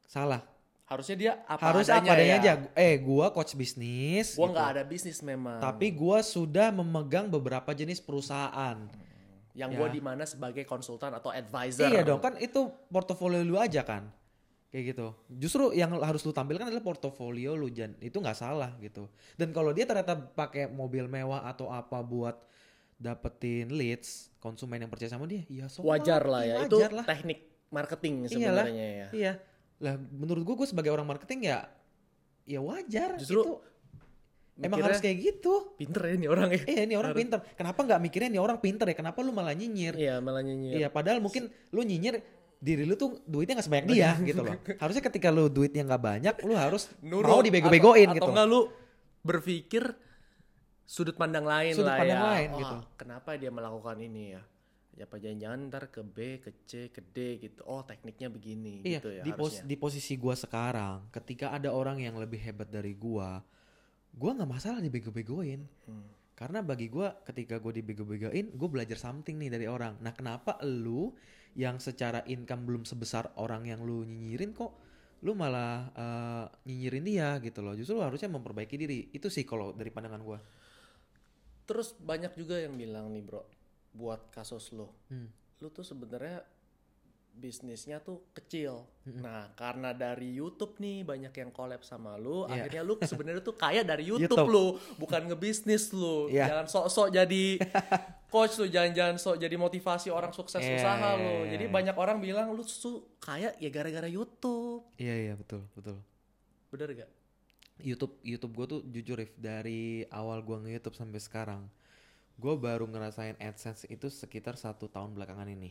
[SPEAKER 1] Salah.
[SPEAKER 2] Harusnya dia apa
[SPEAKER 1] Harus
[SPEAKER 2] adanya,
[SPEAKER 1] apa adanya
[SPEAKER 2] ya.
[SPEAKER 1] aja. Eh, gua coach bisnis.
[SPEAKER 2] Gue
[SPEAKER 1] gitu.
[SPEAKER 2] nggak ada bisnis memang.
[SPEAKER 1] Tapi gua sudah memegang beberapa jenis perusahaan.
[SPEAKER 2] yang gue
[SPEAKER 1] ya.
[SPEAKER 2] di mana sebagai konsultan atau advisor.
[SPEAKER 1] Iya dong, kan itu portofolio lu aja kan. Kayak gitu. Justru yang harus lu tampilkan adalah portofolio lu Jan. Itu nggak salah gitu. Dan kalau dia ternyata pakai mobil mewah atau apa buat dapetin leads, konsumen yang percaya sama dia, ya so
[SPEAKER 2] Wajar
[SPEAKER 1] what,
[SPEAKER 2] lah ya. Itu
[SPEAKER 1] wajar lah.
[SPEAKER 2] teknik
[SPEAKER 1] Iyalah.
[SPEAKER 2] marketing sebenarnya ya.
[SPEAKER 1] Iya. Lah menurut gua gua sebagai orang marketing ya ya wajar
[SPEAKER 2] Justru
[SPEAKER 1] itu. Emang
[SPEAKER 2] Mikirnya,
[SPEAKER 1] harus kayak gitu.
[SPEAKER 2] pinter ya nih orang ya.
[SPEAKER 1] Iya, ini orang
[SPEAKER 2] Harus.
[SPEAKER 1] pintar. Kenapa nggak mikirnya ini orang pintar ya? Kenapa lu malah nyinyir?
[SPEAKER 2] Iya malah nyinyir.
[SPEAKER 1] Iya, padahal mungkin lu nyinyir diri lu tuh duitnya nggak
[SPEAKER 2] Iya.
[SPEAKER 1] sebanyak dia gitu
[SPEAKER 2] <laughs>
[SPEAKER 1] loh. Harusnya ketika lu duitnya nggak banyak, lu harus
[SPEAKER 2] Nurut
[SPEAKER 1] mau dibego-begoin
[SPEAKER 2] atau,
[SPEAKER 1] gitu.
[SPEAKER 2] Atau enggak lu berpikir sudut pandang lain
[SPEAKER 1] Sudut
[SPEAKER 2] lah
[SPEAKER 1] pandang
[SPEAKER 2] ya.
[SPEAKER 1] lain,
[SPEAKER 2] Wah,
[SPEAKER 1] gitu.
[SPEAKER 2] Kenapa dia melakukan ini ya? Ya apa jangan-jangan ntar ke B, ke C, ke D gitu. Oh tekniknya begini
[SPEAKER 1] Iya,
[SPEAKER 2] gitu ya
[SPEAKER 1] di, pos-
[SPEAKER 2] harusnya.
[SPEAKER 1] di posisi gua sekarang, ketika ada orang yang lebih hebat dari gua, gua nggak masalah dibego-begoin.
[SPEAKER 2] Hmm.
[SPEAKER 1] Karena bagi gua ketika gua dibego-begoin, gua belajar something nih dari orang. Nah, kenapa lu yang secara income belum sebesar orang yang lu nyinyirin kok lu malah eh, nyinyirin dia gitu loh. Justru lu harusnya memperbaiki diri. Itu sih kalau dari pandangan gua.
[SPEAKER 2] Terus banyak juga yang bilang nih bro, buat kasus lo,
[SPEAKER 1] Hmm.
[SPEAKER 2] lo tuh sebenarnya bisnisnya tuh kecil.
[SPEAKER 1] Mm-mm.
[SPEAKER 2] Nah karena dari YouTube nih banyak yang collab sama lo,
[SPEAKER 1] Iya.
[SPEAKER 2] akhirnya lo sebenarnya tuh kaya
[SPEAKER 1] <laughs>
[SPEAKER 2] dari YouTube,
[SPEAKER 1] YouTube.
[SPEAKER 2] lo, bukan ngebisnis lo.
[SPEAKER 1] Iya.
[SPEAKER 2] Jangan sok-sok
[SPEAKER 1] <laughs>
[SPEAKER 2] jadi coach lo, jangan-jangan sok jadi motivasi orang sukses
[SPEAKER 1] Iya,
[SPEAKER 2] usaha
[SPEAKER 1] iya,
[SPEAKER 2] lo.
[SPEAKER 1] iya,
[SPEAKER 2] Jadi
[SPEAKER 1] iya.
[SPEAKER 2] banyak orang bilang lo tuh kaya ya gara-gara YouTube,
[SPEAKER 1] Iya iya betul betul.
[SPEAKER 2] bener gak?
[SPEAKER 1] YouTube YouTube gue tuh jujur Rif, dari awal gue nge YouTube sampai sekarang gue baru ngerasain AdSense itu sekitar satu tahun belakangan ini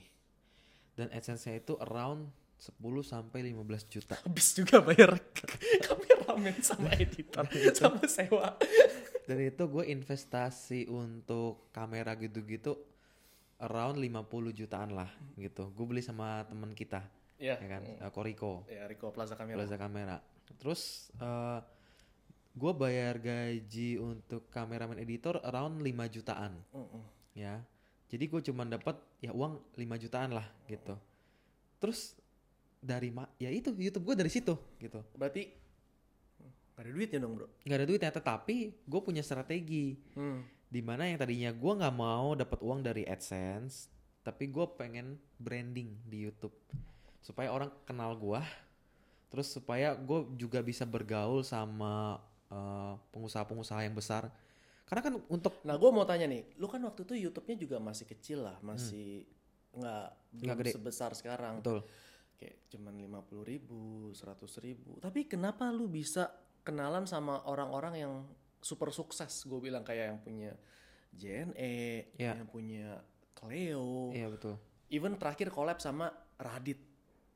[SPEAKER 1] dan AdSense-nya itu around 10 sampai 15 juta.
[SPEAKER 2] <laughs> Habis juga bayar kameramen
[SPEAKER 1] <laughs>
[SPEAKER 2] sama editor
[SPEAKER 1] Gitu.
[SPEAKER 2] sama sewa.
[SPEAKER 1] Dan itu gue investasi untuk kamera gitu-gitu around 50 jutaan lah gitu. Gue beli sama temen kita
[SPEAKER 2] Iya.
[SPEAKER 1] ya kan, eh, Koriko.
[SPEAKER 2] Ya Rico Plaza Kamera.
[SPEAKER 1] Plaza kamera. Terus eh gue bayar gaji untuk kameramen editor around 5 jutaan
[SPEAKER 2] Mm-mm.
[SPEAKER 1] ya. Jadi gue cuman dapat ya uang 5 jutaan lah gitu. Terus dari ma- ya itu YouTube gue dari situ gitu.
[SPEAKER 2] Berarti gak ada duitnya dong bro.
[SPEAKER 1] nggak ada duitnya tetapi gue punya strategi dimana yang tadinya gue nggak mau dapat uang dari AdSense tapi gue pengen branding di YouTube supaya orang kenal gue terus supaya gue juga bisa bergaul sama eh, pengusaha-pengusaha yang besar Karena kan untuk
[SPEAKER 2] Nah, gue mau tanya nih, lu kan waktu itu YouTube-nya juga masih kecil lah, masih nggak belum
[SPEAKER 1] Hmm. gede.
[SPEAKER 2] sebesar sekarang.
[SPEAKER 1] betul.
[SPEAKER 2] Kayak cuman 50 ribu, 100 ribu. Tapi kenapa lu bisa kenalan sama orang-orang yang super sukses? Gue bilang kayak yang punya JNE,
[SPEAKER 1] Iya.
[SPEAKER 2] yang punya Cleo,
[SPEAKER 1] Iya betul.
[SPEAKER 2] even terakhir collab sama Radit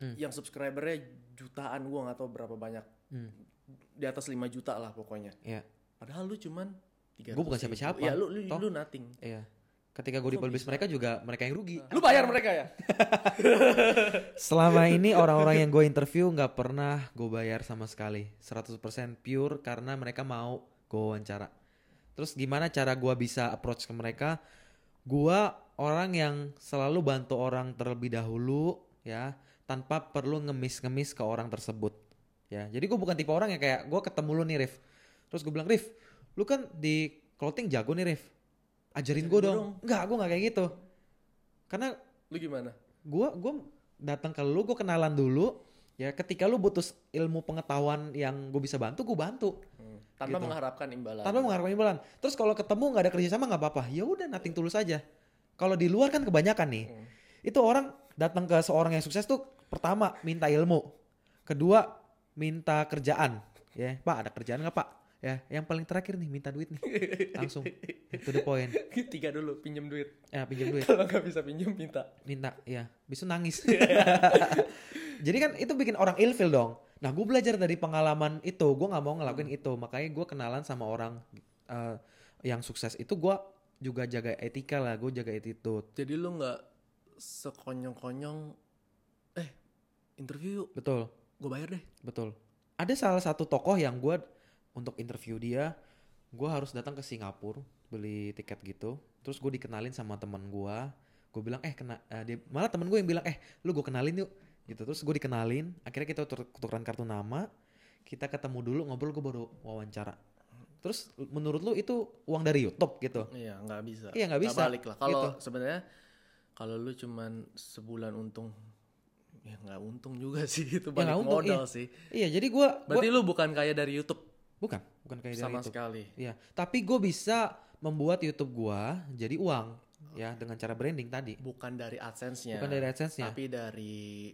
[SPEAKER 1] Hmm.
[SPEAKER 2] yang subscribernya jutaan gua nggak tahu berapa banyak
[SPEAKER 1] Hmm.
[SPEAKER 2] di atas 5 juta lah pokoknya
[SPEAKER 1] Iya.
[SPEAKER 2] padahal lu cuman tiga
[SPEAKER 1] Gua bukan siapa-siapa,
[SPEAKER 2] ya lu lu,
[SPEAKER 1] toh.
[SPEAKER 2] lu nothing
[SPEAKER 1] Iya. Ketika gue dipublish mereka juga mereka yang rugi.
[SPEAKER 2] lu bayar mereka ya
[SPEAKER 1] Selama ini orang-orang yang gue interview nggak pernah gue bayar sama sekali. 100% pure karena mereka mau gue wawancara. Terus gimana cara gue bisa approach ke mereka? Gue orang yang selalu bantu orang terlebih dahulu ya tanpa perlu ngemis-ngemis ke orang tersebut. Ya, jadi gue bukan tipe orang yang kayak gue ketemu lu nih Rif. Terus gue bilang Rif, lu kan di clothing jago nih Rif. Ajarin
[SPEAKER 2] Ajarin
[SPEAKER 1] gue
[SPEAKER 2] gua
[SPEAKER 1] dong.
[SPEAKER 2] dong.
[SPEAKER 1] Enggak, gue nggak kayak gitu. Karena
[SPEAKER 2] lu gimana
[SPEAKER 1] gua gua datang ke lu gua kenalan dulu ya ketika lu butuh ilmu pengetahuan yang gue bisa bantu gue bantu
[SPEAKER 2] Hmm. tanpa
[SPEAKER 1] Gitu.
[SPEAKER 2] mengharapkan imbalan
[SPEAKER 1] tanpa
[SPEAKER 2] <laughs>
[SPEAKER 1] mengharapkan imbalan terus kalau ketemu nggak ada kerjasama nggak apa-apa ya udah nating tulus aja kalau di luar kan kebanyakan nih
[SPEAKER 2] Hmm.
[SPEAKER 1] itu orang datang ke seorang yang sukses tuh pertama minta ilmu kedua minta kerjaan ya pak ada kerjaan nggak pak ya yang paling terakhir nih minta duit nih langsung to the point
[SPEAKER 2] tiga dulu pinjem duit
[SPEAKER 1] ya pinjam duit
[SPEAKER 2] <laughs> kalau nggak bisa pinjem minta
[SPEAKER 1] minta ya bisu nangis <laughs> jadi kan itu bikin orang ilfil dong nah gue belajar dari pengalaman itu gue nggak mau ngelakuin itu makanya gue kenalan sama orang eh, yang sukses itu gue juga jaga etika lah gue jaga attitude
[SPEAKER 2] jadi lu nggak sekonyong-konyong eh interview yuk
[SPEAKER 1] betul
[SPEAKER 2] gue bayar deh
[SPEAKER 1] betul ada salah satu tokoh yang gue untuk interview dia gue harus datang ke Singapura beli tiket gitu terus gue dikenalin sama teman gue gue bilang eh kena eh, dia malah temen gue yang bilang eh lu gue kenalin yuk gitu terus gue dikenalin akhirnya kita tur- tukeran kartu nama kita ketemu dulu ngobrol gue baru wawancara terus menurut lu itu uang dari YouTube gitu
[SPEAKER 2] Iya nggak bisa.
[SPEAKER 1] Iya, nggak bisa.
[SPEAKER 2] balik lah. Kalau sebenarnya kalau lu cuman sebulan untung, ya nggak untung juga sih <laughs>
[SPEAKER 1] Ya,
[SPEAKER 2] itu balik
[SPEAKER 1] nggak untung,
[SPEAKER 2] modal
[SPEAKER 1] iya.
[SPEAKER 2] sih.
[SPEAKER 1] iya jadi gue
[SPEAKER 2] Berarti lu bukan kaya dari YouTube
[SPEAKER 1] bukan bukan kayak dari
[SPEAKER 2] sama
[SPEAKER 1] YouTube
[SPEAKER 2] sekali.
[SPEAKER 1] iya tapi gue bisa membuat YouTube gue jadi uang ya dengan cara branding tadi
[SPEAKER 2] Bukan dari AdSense-nya.
[SPEAKER 1] bukan dari ya? AdSense-nya
[SPEAKER 2] Tapi dari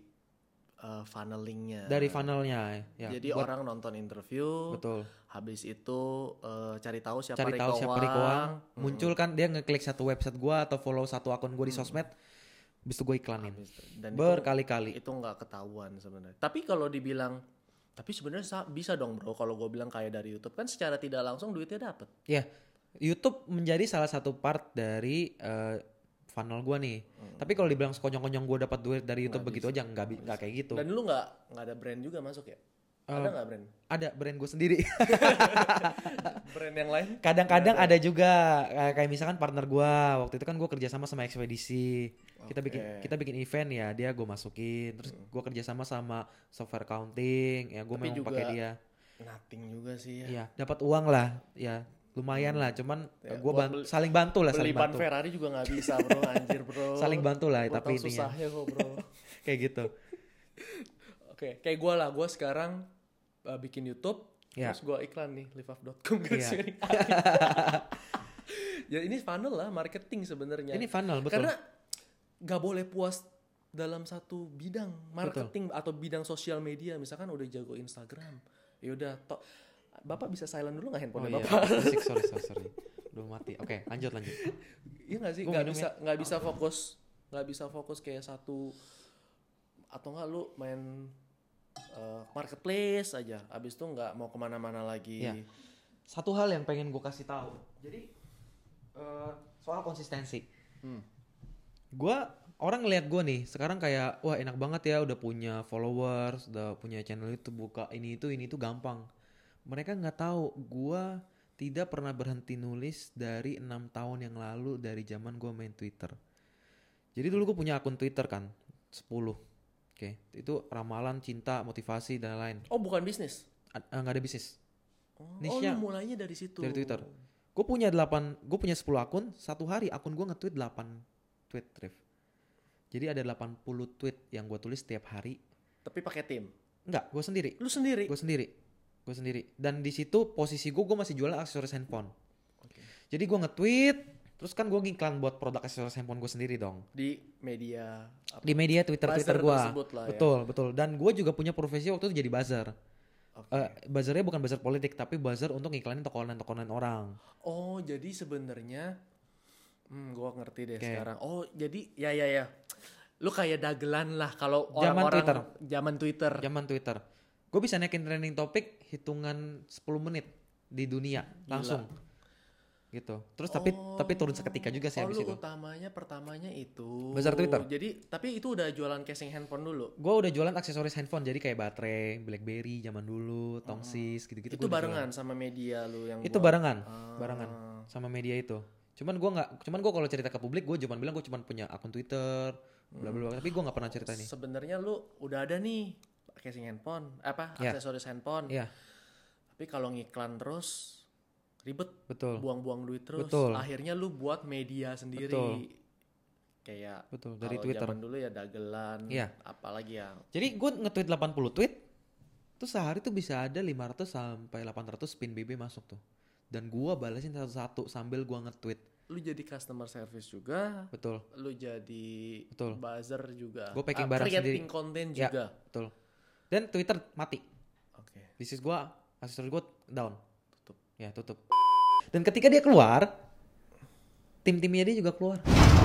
[SPEAKER 2] eh, funneling-nya.
[SPEAKER 1] dari funnelnya ya
[SPEAKER 2] Jadi
[SPEAKER 1] buat-
[SPEAKER 2] orang nonton interview,
[SPEAKER 1] betul
[SPEAKER 2] habis itu eh, cari tahu siapa
[SPEAKER 1] cari tahu siapa
[SPEAKER 2] Riko
[SPEAKER 1] Rikoang
[SPEAKER 2] Wang. Mm.
[SPEAKER 1] muncul kan dia ngeklik satu website gua atau follow satu akun gua di sosmed habis itu gue iklanin
[SPEAKER 2] Hmm. Habis itu. Dan itu-
[SPEAKER 1] berkali-kali
[SPEAKER 2] itu nggak ketahuan sebenarnya. Tapi kalau dibilang tapi sebenarnya sa- bisa dong bro kalau gue bilang kayak dari YouTube kan secara tidak langsung duitnya dapet.
[SPEAKER 1] ya YouTube menjadi salah satu part dari eh, funnel gua nih
[SPEAKER 2] Hmm.
[SPEAKER 1] tapi kalau dibilang sekonyong-konyong gua dapat duit dari YouTube begitu aja nggak bi- nggak kayak gitu
[SPEAKER 2] Dan lu nggak nggak ada brand juga masuk ya? ada
[SPEAKER 1] Eh.
[SPEAKER 2] nggak brand?
[SPEAKER 1] ada brand gue sendiri
[SPEAKER 2] Brand yang lain?
[SPEAKER 1] kadang-kadang
[SPEAKER 2] Iya,
[SPEAKER 1] ada juga eh, kayak misalkan partner gua waktu itu kan gua kerja sama sama ekspedisi kita bikin
[SPEAKER 2] Oke. Hmm.
[SPEAKER 1] kita bikin event ya dia gue masukin terus gua kerja sama sama software accounting ya gue
[SPEAKER 2] Tapi
[SPEAKER 1] memang
[SPEAKER 2] juga-
[SPEAKER 1] pakai dia
[SPEAKER 2] Nothing juga sih ya.
[SPEAKER 1] Iya, dapat uang lah. Ya, lumayan lah. Cuman
[SPEAKER 2] Ya,
[SPEAKER 1] gue
[SPEAKER 2] buat beli-
[SPEAKER 1] saling bantu lah,
[SPEAKER 2] Beli
[SPEAKER 1] saling
[SPEAKER 2] ban
[SPEAKER 1] bantu.
[SPEAKER 2] Ferrari juga nggak bisa bro,
[SPEAKER 1] <laughs>
[SPEAKER 2] anjir bro.
[SPEAKER 1] Saling bantu lah,
[SPEAKER 2] Gua
[SPEAKER 1] tapi
[SPEAKER 2] tahu
[SPEAKER 1] intinya.
[SPEAKER 2] susahnya kok
[SPEAKER 1] <laughs>
[SPEAKER 2] bro.
[SPEAKER 1] Kayak gitu.
[SPEAKER 2] Oke, kayak gue lah, gue sekarang uh, bikin YouTube,
[SPEAKER 1] Ya.
[SPEAKER 2] terus gue iklan nih, <laughs> liveoff.com
[SPEAKER 1] Iya.
[SPEAKER 2] garis miring
[SPEAKER 1] <laughs>
[SPEAKER 2] Ya ini funnel lah, marketing sebenarnya.
[SPEAKER 1] Ini funnel betul.
[SPEAKER 2] Ya. Karena nggak boleh puas dalam satu bidang marketing atau bidang sosial media, misalkan udah jago Instagram, ya udah to- Bapak bisa silent dulu
[SPEAKER 1] oh
[SPEAKER 2] nggak handphone
[SPEAKER 1] iya,
[SPEAKER 2] bapak? <laughs>
[SPEAKER 1] Asik, sorry, sorry, sorry. Udah mati. Oke, lanjut, lanjut.
[SPEAKER 2] Iya nggak sih?
[SPEAKER 1] Gua
[SPEAKER 2] Nggak
[SPEAKER 1] minum
[SPEAKER 2] bisa nggak bisa fokus, nggak bisa fokus kayak satu atau nggak lu main eh, marketplace aja, abis itu nggak mau kemana-mana lagi.
[SPEAKER 1] Iya. Satu hal yang pengen gue kasih tahu. Jadi eh, soal konsistensi.
[SPEAKER 2] Hmm.
[SPEAKER 1] Gua orang ngeliat gue nih sekarang kayak wah enak banget ya udah punya followers, udah punya channel itu buka ini itu ini itu gampang. Mereka nggak tahu gua tidak pernah berhenti nulis dari enam tahun yang lalu dari zaman gua main Twitter. Jadi dulu gue punya akun Twitter kan 10 Oke, itu ramalan, cinta, motivasi dan lain.
[SPEAKER 2] Oh bukan bisnis?
[SPEAKER 1] Ad- eh, Nggak ada bisnis.
[SPEAKER 2] Oh,
[SPEAKER 1] Niche-nya.
[SPEAKER 2] oh, lu mulainya dari situ.
[SPEAKER 1] Dari Twitter. Gue punya 8, gue punya 10 akun, satu hari akun gue nge-tweet 8 tweet, Rif. Jadi ada 80 tweet yang gue tulis setiap hari.
[SPEAKER 2] Tapi pakai tim.
[SPEAKER 1] Enggak, gue sendiri.
[SPEAKER 2] Lu sendiri.
[SPEAKER 1] Gue sendiri. Gue sendiri. Dan di situ posisi gue, gue masih jualan aksesoris handphone. Jadi gue nge-tweet, terus kan gue ngiklan buat produk aksesoris handphone gue sendiri dong.
[SPEAKER 2] di media apa?
[SPEAKER 1] Di media Twitter Twitter
[SPEAKER 2] Buzzer
[SPEAKER 1] gue.
[SPEAKER 2] tersebut lah ya.
[SPEAKER 1] Betul betul. Dan gue juga punya profesi waktu itu jadi buzzer.
[SPEAKER 2] Oke.
[SPEAKER 1] Eh, buzzernya bukan buzzer politik tapi buzzer untuk ngiklanin toko online toko online orang.
[SPEAKER 2] Oh, jadi sebenarnya hmm gua ngerti deh
[SPEAKER 1] Oke.
[SPEAKER 2] sekarang. Oh, jadi ya ya ya. Lu kayak dagelan lah kalau
[SPEAKER 1] Zaman
[SPEAKER 2] orang-orang
[SPEAKER 1] Twitter.
[SPEAKER 2] zaman Twitter.
[SPEAKER 1] Zaman Twitter. Gue bisa naikin trending topik hitungan 10 menit di dunia langsung. Gitu. Terus tapi tapi turun seketika juga sih
[SPEAKER 2] Oh,
[SPEAKER 1] habis
[SPEAKER 2] lu
[SPEAKER 1] itu.
[SPEAKER 2] utamanya pertamanya itu.
[SPEAKER 1] Besar Twitter.
[SPEAKER 2] Jadi, tapi itu udah jualan casing handphone dulu.
[SPEAKER 1] Gue udah jualan aksesoris handphone jadi kayak baterai, BlackBerry zaman dulu, Tongsis gitu-gitu.
[SPEAKER 2] itu
[SPEAKER 1] Gitu gua udah jualan.
[SPEAKER 2] barengan sama media lu yang
[SPEAKER 1] itu
[SPEAKER 2] buat.
[SPEAKER 1] barengan
[SPEAKER 2] Ah.
[SPEAKER 1] barengan sama media itu cuman gua nggak cuman gua kalau cerita ke publik gua cuman bilang gua cuman punya akun twitter bla bla bla tapi gua nggak pernah cerita ini
[SPEAKER 2] Sebenarnya lu udah ada nih casing handphone, eh, apa
[SPEAKER 1] Ya.
[SPEAKER 2] aksesoris handphone.
[SPEAKER 1] iya
[SPEAKER 2] Tapi kalau ngiklan terus ribet
[SPEAKER 1] betul
[SPEAKER 2] buang-buang duit terus
[SPEAKER 1] Betul.
[SPEAKER 2] akhirnya lu buat media sendiri
[SPEAKER 1] Betul.
[SPEAKER 2] kayak
[SPEAKER 1] betul dari
[SPEAKER 2] kalau
[SPEAKER 1] twitter
[SPEAKER 2] zaman dulu ya dagelan
[SPEAKER 1] Iya.
[SPEAKER 2] apalagi ya
[SPEAKER 1] jadi gua nge-tweet 80 tweet tuh sehari tuh bisa ada 500 sampai 800 pin BB masuk tuh dan gua balesin satu-satu sambil gua nge-tweet
[SPEAKER 2] lu jadi customer service juga
[SPEAKER 1] betul
[SPEAKER 2] lu jadi
[SPEAKER 1] Betul.
[SPEAKER 2] buzzer juga
[SPEAKER 1] Gua packing
[SPEAKER 2] Ah,
[SPEAKER 1] barang sendiri.
[SPEAKER 2] creating content
[SPEAKER 1] Ya.
[SPEAKER 2] juga
[SPEAKER 1] betul dan twitter mati
[SPEAKER 2] oke
[SPEAKER 1] bisnis gua aksesoris gua down
[SPEAKER 2] tutup
[SPEAKER 1] ya tutup dan ketika dia keluar tim-timnya dia juga keluar